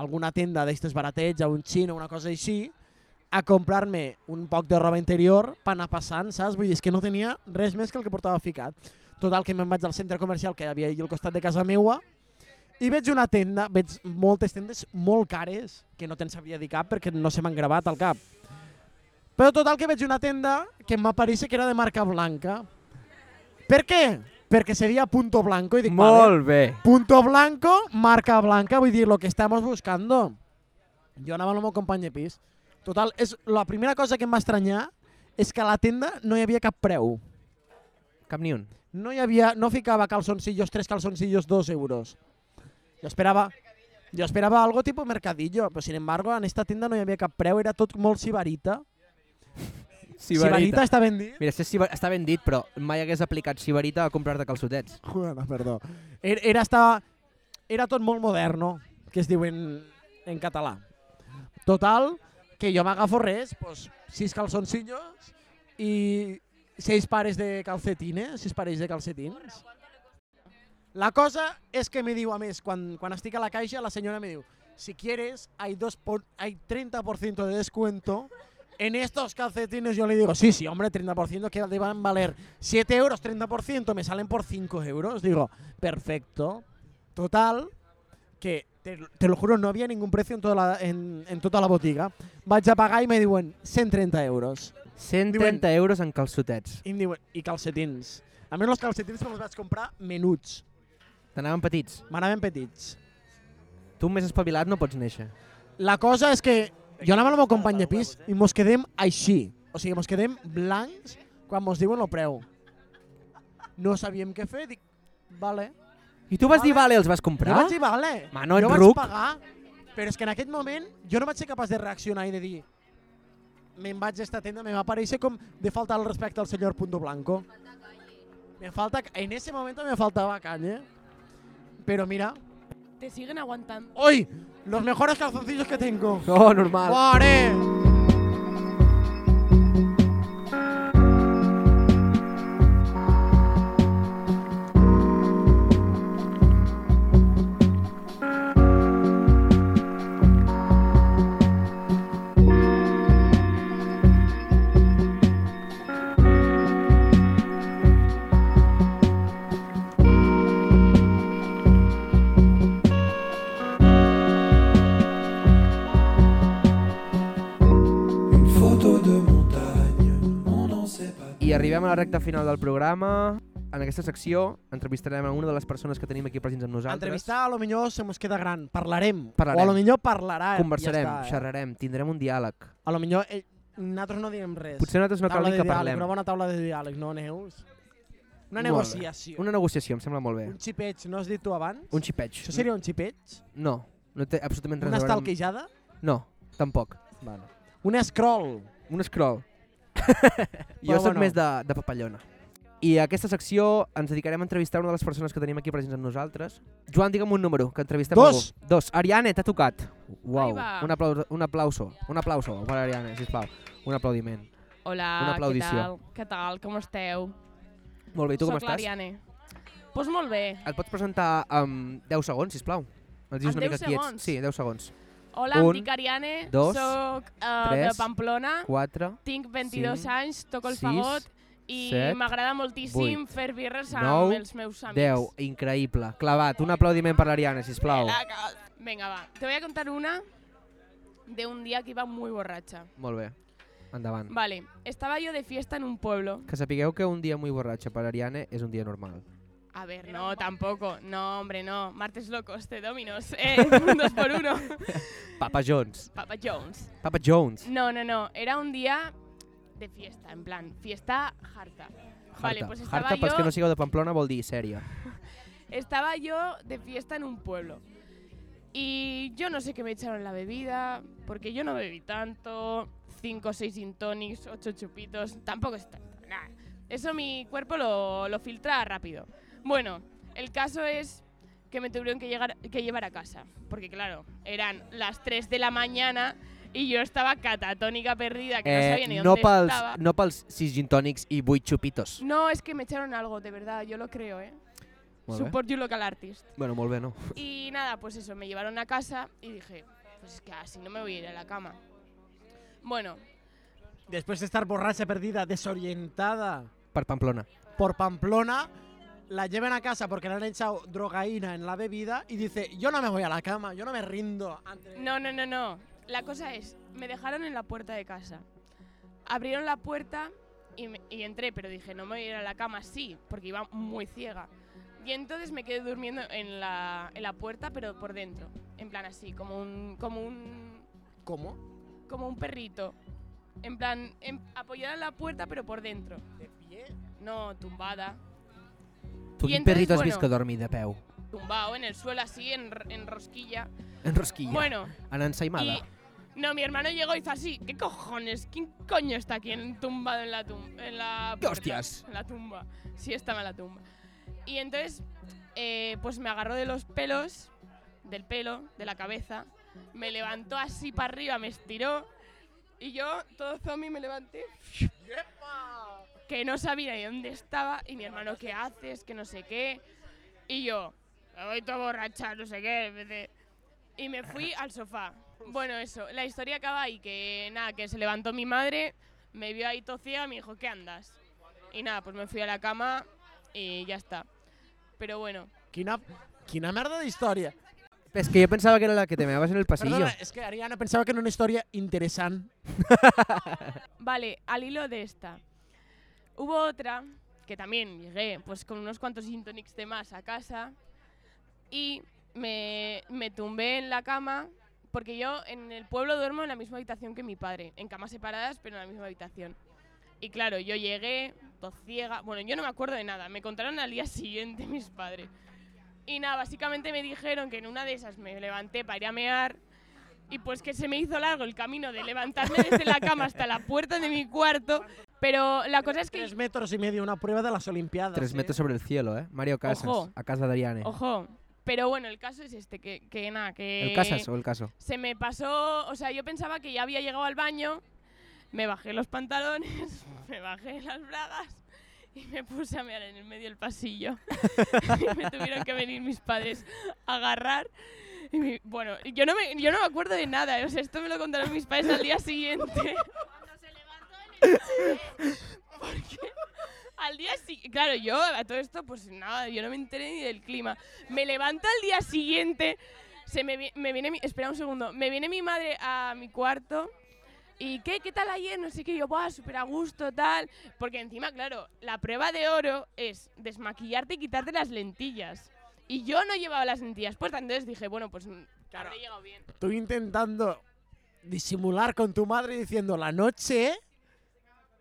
[SPEAKER 2] alguna tenda d'estes baratets, a un xin o una cosa així, a comprar-me un poc de roba interior per anar passant, saps? Vull dir, és que no tenia res més que el que portava ficat. Total, que me'n vaig al centre comercial que hi havia allà al costat de casa meua i veig una tenda, veig moltes tendes molt cares, que no te'n sabria dir cap perquè no se m'han gravat al cap. Però total que veig una tenda que m'apareix que era de marca blanca. Per què? Perquè seria Punto Blanco i dic, vale,
[SPEAKER 1] Molt bé.
[SPEAKER 2] Punto Blanco, marca blanca, vull dir, lo que estamos buscando. Jo anava amb el meu company de pis. Total, és la primera cosa que em va estranyar és que a la tenda no hi havia cap preu.
[SPEAKER 1] Cap ni un.
[SPEAKER 2] No hi havia, no ficava calzoncillos, tres calzoncillos, dos euros. Jo esperava, jo esperava algo tipo mercadillo, però sin embargo en esta tienda no hi havia cap preu, era tot molt sibarita. sibarita està ben dit?
[SPEAKER 1] Mira, si és ciba- està ben dit, però mai hagués aplicat Sibarita a comprar-te calçotets.
[SPEAKER 2] Bueno, perdó. Era, era, estava, era tot molt moderno, que es diu en, en català. Total, que jo m'agafo res, pues, sis calzoncillos i seis pares de calcetines, sis parells de calcetins. La cosa és que me diu, a més, quan, quan estic a la caixa, la senyora me diu si quieres, hay, dos por, hay 30% de descuento en estos calcetines. Yo le digo, sí, sí, hombre, 30%, que te van a valer 7 euros, 30%, me salen por 5 euros. Digo, perfecto. Total, que te, te lo juro, no había ningún precio en toda la, en, en toda la botiga. Vaig a pagar i me diuen 130 euros.
[SPEAKER 1] 130 euros en calçotets.
[SPEAKER 2] I, em diuen, i calcetins. A més, els calcetins me'ls vaig comprar menuts.
[SPEAKER 1] T'anaven petits.
[SPEAKER 2] M'anaven petits.
[SPEAKER 1] Tu més espavilat no pots néixer.
[SPEAKER 2] La cosa és que jo anava amb el meu company de pis i mos quedem així. O sigui, mos quedem blancs quan mos diuen el preu. No sabíem què fer, dic, vale.
[SPEAKER 1] I tu vas
[SPEAKER 2] Vale.
[SPEAKER 1] dir, vale, els vas
[SPEAKER 2] Jo
[SPEAKER 1] comprar?
[SPEAKER 2] vaig dir, vale.
[SPEAKER 1] Ma, no
[SPEAKER 2] jo
[SPEAKER 1] ets
[SPEAKER 2] vaig
[SPEAKER 1] ruc.
[SPEAKER 2] pagar, però és que en aquest moment jo no vaig ser capaç de reaccionar i de dir me'n vaig a esta tenda, me va aparèixer com de faltar el respecte al senyor Punto Blanco. Me falta, en ese momento me faltaba calle. Pero mira,
[SPEAKER 5] Te siguen aguantando.
[SPEAKER 2] hoy los mejores calzoncillos que tengo.
[SPEAKER 1] Oh, normal.
[SPEAKER 2] ¡Ore!
[SPEAKER 1] arribem a la recta final del programa. En aquesta secció entrevistarem a una de les persones que tenim aquí presents amb nosaltres.
[SPEAKER 2] Entrevistar, a lo millor se mos queda gran. Parlarem.
[SPEAKER 1] Parlarem.
[SPEAKER 2] O a lo millor parlarà.
[SPEAKER 1] Conversarem,
[SPEAKER 2] ja està, eh?
[SPEAKER 1] xerrarem, tindrem un diàleg.
[SPEAKER 2] A lo millor eh, nosaltres no direm res.
[SPEAKER 1] Potser nosaltres no cal
[SPEAKER 2] taula
[SPEAKER 1] ni
[SPEAKER 2] de
[SPEAKER 1] que
[SPEAKER 2] diàleg,
[SPEAKER 1] parlem.
[SPEAKER 2] Una bona taula de diàleg, no, Neus?
[SPEAKER 1] Molt bé.
[SPEAKER 2] Una negociació.
[SPEAKER 1] Una negociació, em sembla molt bé.
[SPEAKER 2] Un xipeig, no has dit tu abans?
[SPEAKER 1] Un xipeig.
[SPEAKER 2] Això seria un xipeig?
[SPEAKER 1] No, no té absolutament res a
[SPEAKER 2] Una
[SPEAKER 1] veure
[SPEAKER 2] estalquejada?
[SPEAKER 1] amb... No, tampoc.
[SPEAKER 2] Bueno. Un scroll.
[SPEAKER 1] Un scroll. jo
[SPEAKER 2] Però
[SPEAKER 1] soc
[SPEAKER 2] bueno.
[SPEAKER 1] més de, de papallona. I a aquesta secció ens dedicarem a entrevistar una de les persones que tenim aquí presents amb nosaltres. Joan, digue'm un número, que entrevistem
[SPEAKER 2] Dos.
[SPEAKER 1] algú. Dos. Ariane, t'ha tocat. Uau,
[SPEAKER 5] va.
[SPEAKER 1] un, aplauso, un aplauso, un aplauso per Ariane, sisplau. Un aplaudiment.
[SPEAKER 5] Hola,
[SPEAKER 1] Una aplaudició.
[SPEAKER 5] què tal? Què tal? Com esteu?
[SPEAKER 1] Molt bé, i tu com
[SPEAKER 5] Soc
[SPEAKER 1] estàs?
[SPEAKER 5] l'Ariane. Pues molt bé.
[SPEAKER 1] Et pots presentar en 10 segons, sisplau? Ens dius
[SPEAKER 5] En
[SPEAKER 1] una
[SPEAKER 5] 10
[SPEAKER 1] mica qui ets.
[SPEAKER 5] segons?
[SPEAKER 1] Sí, 10 segons.
[SPEAKER 5] Hola,
[SPEAKER 1] Un,
[SPEAKER 5] em dic Ariane,
[SPEAKER 1] dos,
[SPEAKER 5] soc eh, de
[SPEAKER 1] tres,
[SPEAKER 5] Pamplona,
[SPEAKER 1] 4,
[SPEAKER 5] tinc 22
[SPEAKER 1] cinc,
[SPEAKER 5] anys, toco el
[SPEAKER 1] sis,
[SPEAKER 5] fagot i
[SPEAKER 1] set,
[SPEAKER 5] m'agrada moltíssim
[SPEAKER 1] vuit,
[SPEAKER 5] fer birres
[SPEAKER 1] nou,
[SPEAKER 5] amb els meus amics.
[SPEAKER 1] 10, increïble. Clavat, un aplaudiment per l'Ariana, sisplau.
[SPEAKER 5] Venga, va. Te voy a contar una de un día que iba muy borracha.
[SPEAKER 1] Molt bé, endavant.
[SPEAKER 5] Vale, estaba yo de fiesta en un pueblo.
[SPEAKER 1] Que sapigueu que un dia muy borratxa per Ariane és un dia normal.
[SPEAKER 5] A ver, no, tampoco. No, hombre, no. Martes locos de Dominos. Eh, dos por uno.
[SPEAKER 1] Papa Jones.
[SPEAKER 5] Papa Jones.
[SPEAKER 1] Papa Jones.
[SPEAKER 5] No, no, no. Era un día de fiesta, en plan, fiesta harta. Vale,
[SPEAKER 1] Harta.
[SPEAKER 5] pues estaba
[SPEAKER 1] Harta, pels
[SPEAKER 5] yo-
[SPEAKER 1] que no sigueu de Pamplona, vol dir sèria.
[SPEAKER 5] Estaba yo de fiesta en un pueblo. Y yo no sé qué me echaron la bebida, porque yo no bebí tanto. Cinco o seis gin tonics, ocho chupitos, tampoco es tanto. nah. Eso mi cuerpo lo, lo filtra rápido. Bueno, el caso es que me tuvieron que, llegar, que llevar a casa, porque claro, eran las 3 de la mañana y yo estaba catatónica perdida, que no sabía ni dónde
[SPEAKER 1] Eh, no, pels,
[SPEAKER 5] estaba.
[SPEAKER 1] no pels 6 gin tònics i 8 xupitos.
[SPEAKER 5] No, es que me echaron algo, de verdad, yo lo creo, ¿eh?
[SPEAKER 1] Molt bé.
[SPEAKER 5] Support your local artist.
[SPEAKER 1] Bueno, molt bé, no?
[SPEAKER 5] Y nada, pues eso, me llevaron a casa y dije, pues es que así no me voy a ir a la cama. Bueno,
[SPEAKER 2] Després d'estar borratxa perdida, desorientada
[SPEAKER 1] Per Pamplona.
[SPEAKER 2] por Pamplona, la lleven a casa porque le han echado drogaína en la bebida y dice, yo no me voy a la cama, yo no me rindo. ante-".
[SPEAKER 5] no, no, no, no. La cosa es, me dejaron en la puerta de casa. Abrieron la puerta y, me- y entré, pero dije, no me voy a ir a la cama, sí, porque iba muy ciega. Y entonces me quedé durmiendo en la, en la puerta, pero por dentro. En plan así, como un, como un
[SPEAKER 2] ¿Cómo?
[SPEAKER 5] como un perrito. En plan, en- apoyada en la puerta, pero por dentro. ¿De pie? No, tumbada.
[SPEAKER 1] Tu
[SPEAKER 5] I
[SPEAKER 1] quin
[SPEAKER 5] entonces,
[SPEAKER 1] perrito has
[SPEAKER 5] bueno.
[SPEAKER 1] vist que dormi de peu?
[SPEAKER 5] Tumbado en el suelo así, en, r- en rosquilla.
[SPEAKER 1] En rosquilla.
[SPEAKER 5] Bueno,
[SPEAKER 1] En ensaïmada.
[SPEAKER 5] y. No, mi hermano llegó y hizo así. ¿Qué cojones? ¿Quién coño está aquí en- tumbado en la tumba? En la
[SPEAKER 1] ¿Qué
[SPEAKER 5] puerta?
[SPEAKER 1] hostias?
[SPEAKER 5] En la tumba. Sí, estaba en la tumba. Y entonces, eh, pues me agarró de los pelos, del pelo, de la cabeza. Me levantó así para arriba, me estiró. Y yo, todo zombie, me levanté. Que no sabía ni dónde estaba. Y mi hermano, ¿qué haces? Que no sé qué. Y yo, me voy todo borracha, no sé qué. me dice. Y me fui al sofá. Bueno, eso, la historia acaba ahí, que nada, que se levantó mi madre, me vio ahí tocía y me dijo, ¿qué andas? Y nada, pues me fui a la cama y ya está. Pero bueno,
[SPEAKER 2] Quina, quina merda d'història.
[SPEAKER 1] És que jo pensava que era la que te meabas en el pasillo.
[SPEAKER 2] Perdona, és que Ariana pensava que era una història interessant.
[SPEAKER 5] vale, al hilo de esta. Hubo otra, que también llegué, pues con unos cuantos sintonics de más a casa y me, me tumbé en la cama, porque yo en el pueblo duermo en la misma habitación que mi padre, en camas separadas, pero en la misma habitación. Y claro, yo llegué, todo ciega. Bueno, yo no me acuerdo de nada. Me contaron al día siguiente mis padres. Y nada, básicamente me dijeron que en una de esas me levanté para ir a mear. Y pues que se me hizo largo el camino de levantarme desde la cama hasta la puerta de mi cuarto. Pero la cosa es que.
[SPEAKER 2] Tres metros i medio, una prueba de las Olimpiadas.
[SPEAKER 1] Tres
[SPEAKER 2] eh?
[SPEAKER 1] metros sobre el cielo, eh? Mario Casas,
[SPEAKER 5] Ojo.
[SPEAKER 1] a casa d'Ariane.
[SPEAKER 5] Ojo. Pero bueno, el caso es este: que, que nada, que.
[SPEAKER 1] El Casas o el caso?
[SPEAKER 5] se me pasó, o sea, yo pensaba que ya había llegado al baño, me bajé los pantalones, me bajé las bragas y me puse a mear en el medio del pasillo. y me tuvieron que venir mis padres a agarrar. Y mi- bueno, yo no, me, yo no me acuerdo de nada, o sea, esto me lo contaron mis padres al día siguiente. Porque al día siguiente, claro, yo a todo esto, pues nada, yo no me enteré ni del clima. Me levanto al día siguiente se me, vi- me viene mi, espera un segundo me viene mi madre a mi cuarto ¿Y qué, qué tal ayer? No sé qué, yo, ¡buah, súper a gusto, tal! Porque encima, claro, la prueba de oro es desmaquillarte y quitarte las lentillas. Y yo no llevaba las lentillas puestas, entonces dije, bueno, pues mm,
[SPEAKER 2] Claro.
[SPEAKER 5] habré llegado bien.
[SPEAKER 2] Tú intentando disimular con tu madre diciendo la noche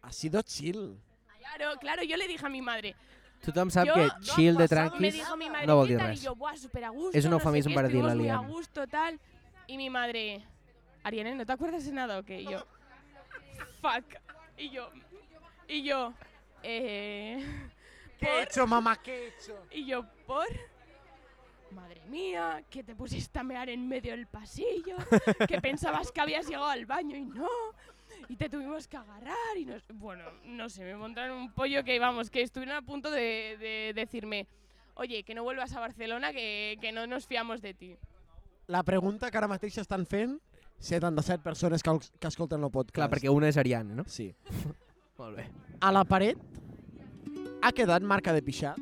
[SPEAKER 2] ha sido chill.
[SPEAKER 5] Claro, claro, yo le dije a mi madre.
[SPEAKER 1] Tothom sap
[SPEAKER 5] Jo
[SPEAKER 1] que
[SPEAKER 5] no
[SPEAKER 1] chill de
[SPEAKER 5] Me
[SPEAKER 1] tranquis
[SPEAKER 5] dijo mi madre,
[SPEAKER 1] no vol
[SPEAKER 5] "¿Qué
[SPEAKER 1] dir
[SPEAKER 5] tal?"
[SPEAKER 1] res.
[SPEAKER 5] Y yo, "Buah, súper a gusto,
[SPEAKER 1] És un
[SPEAKER 5] no sé
[SPEAKER 1] eufemisme
[SPEAKER 5] qué,
[SPEAKER 1] per dir-la,
[SPEAKER 5] estuvimos muy a
[SPEAKER 1] Liam.
[SPEAKER 5] gusto, tal. Y mi madre, Ariane, ¿no te acuerdas de nada o qué? Y yo, fuck. Y yo, y yo, eh,
[SPEAKER 2] ¿Qué he
[SPEAKER 5] por,
[SPEAKER 2] hecho, mamá? ¿Qué he hecho?
[SPEAKER 5] y yo, por. Madre mía, que te pusiste a mear en medio del pasillo, que pensabas que habías llegado al baño y no, y te tuvimos que agarrar y nos... Bueno, no sé, me montaron un pollo que, vamos, que estuvieron a punto de, de decirme, oye, que no vuelvas a Barcelona, que, que no nos fiamos de ti.
[SPEAKER 2] La pregunta que ara mateix estan fent 77 persones que, els- que escolten el podcast.
[SPEAKER 1] Clar, perquè una és Ariane, no?
[SPEAKER 2] Sí.
[SPEAKER 1] Molt bé.
[SPEAKER 2] A la paret ha quedat marca de pixar.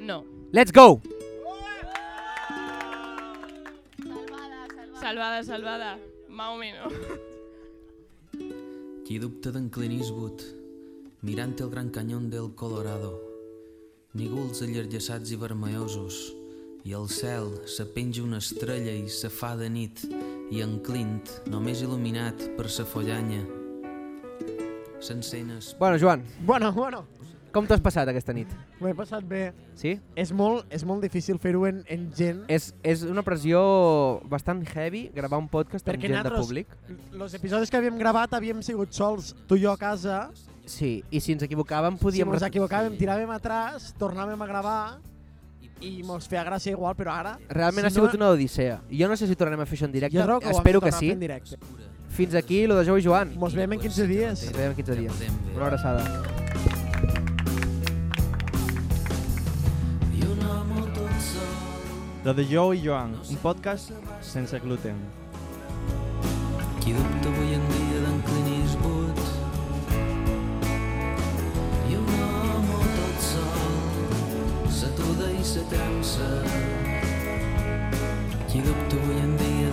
[SPEAKER 5] No,
[SPEAKER 1] Let's go!
[SPEAKER 4] Salvada, salvada.
[SPEAKER 5] salvada, salvada, más o menos.
[SPEAKER 8] Qui dubta d'en Clint Eastwood mirant el gran canyón del Colorado Nígols allargassats i vermellosos i al cel se penja una estrella i se fa de nit i en Clint, només il·luminat per sa follanya s'encén es...
[SPEAKER 1] Bueno, Joan,
[SPEAKER 2] Bueno, bueno,
[SPEAKER 1] com t'ho has passat aquesta nit?
[SPEAKER 2] m'ho he passat bé.
[SPEAKER 1] Sí?
[SPEAKER 2] És molt, és molt difícil fer-ho en, en gent.
[SPEAKER 1] És, és una pressió bastant heavy gravar un podcast amb
[SPEAKER 2] Perquè
[SPEAKER 1] gent de
[SPEAKER 2] nosaltres-
[SPEAKER 1] públic.
[SPEAKER 2] Els episodis que havíem gravat havíem sigut sols, tu i jo a casa.
[SPEAKER 1] Sí, i si ens equivocàvem
[SPEAKER 2] Podíem
[SPEAKER 1] podíem...
[SPEAKER 2] si ens equivocàvem, tiràvem atràs, tornàvem a gravar i mos feia gràcia igual, però ara...
[SPEAKER 1] Realment
[SPEAKER 2] si
[SPEAKER 1] ha sigut una odissea. Jo no sé si tornarem a fer això en directe,
[SPEAKER 2] Jo trobo que ho hem
[SPEAKER 1] espero
[SPEAKER 2] de
[SPEAKER 1] que
[SPEAKER 2] tornar a
[SPEAKER 1] sí.
[SPEAKER 2] fer en directe.
[SPEAKER 1] Fins aquí, lo de Jou i Joan.
[SPEAKER 2] Mos veiem en 15 dies.
[SPEAKER 1] Ens veiem en 15 dies.
[SPEAKER 8] podem veure.
[SPEAKER 1] Una abraçada.
[SPEAKER 8] i un home tot sol
[SPEAKER 3] Lo de Jou i Joan, un podcast sense gluten.
[SPEAKER 8] Qui dubta avui en dia d'en Clint Eastwood I un home tot sol S'atuda i s'atansa Qui dubta avui en dia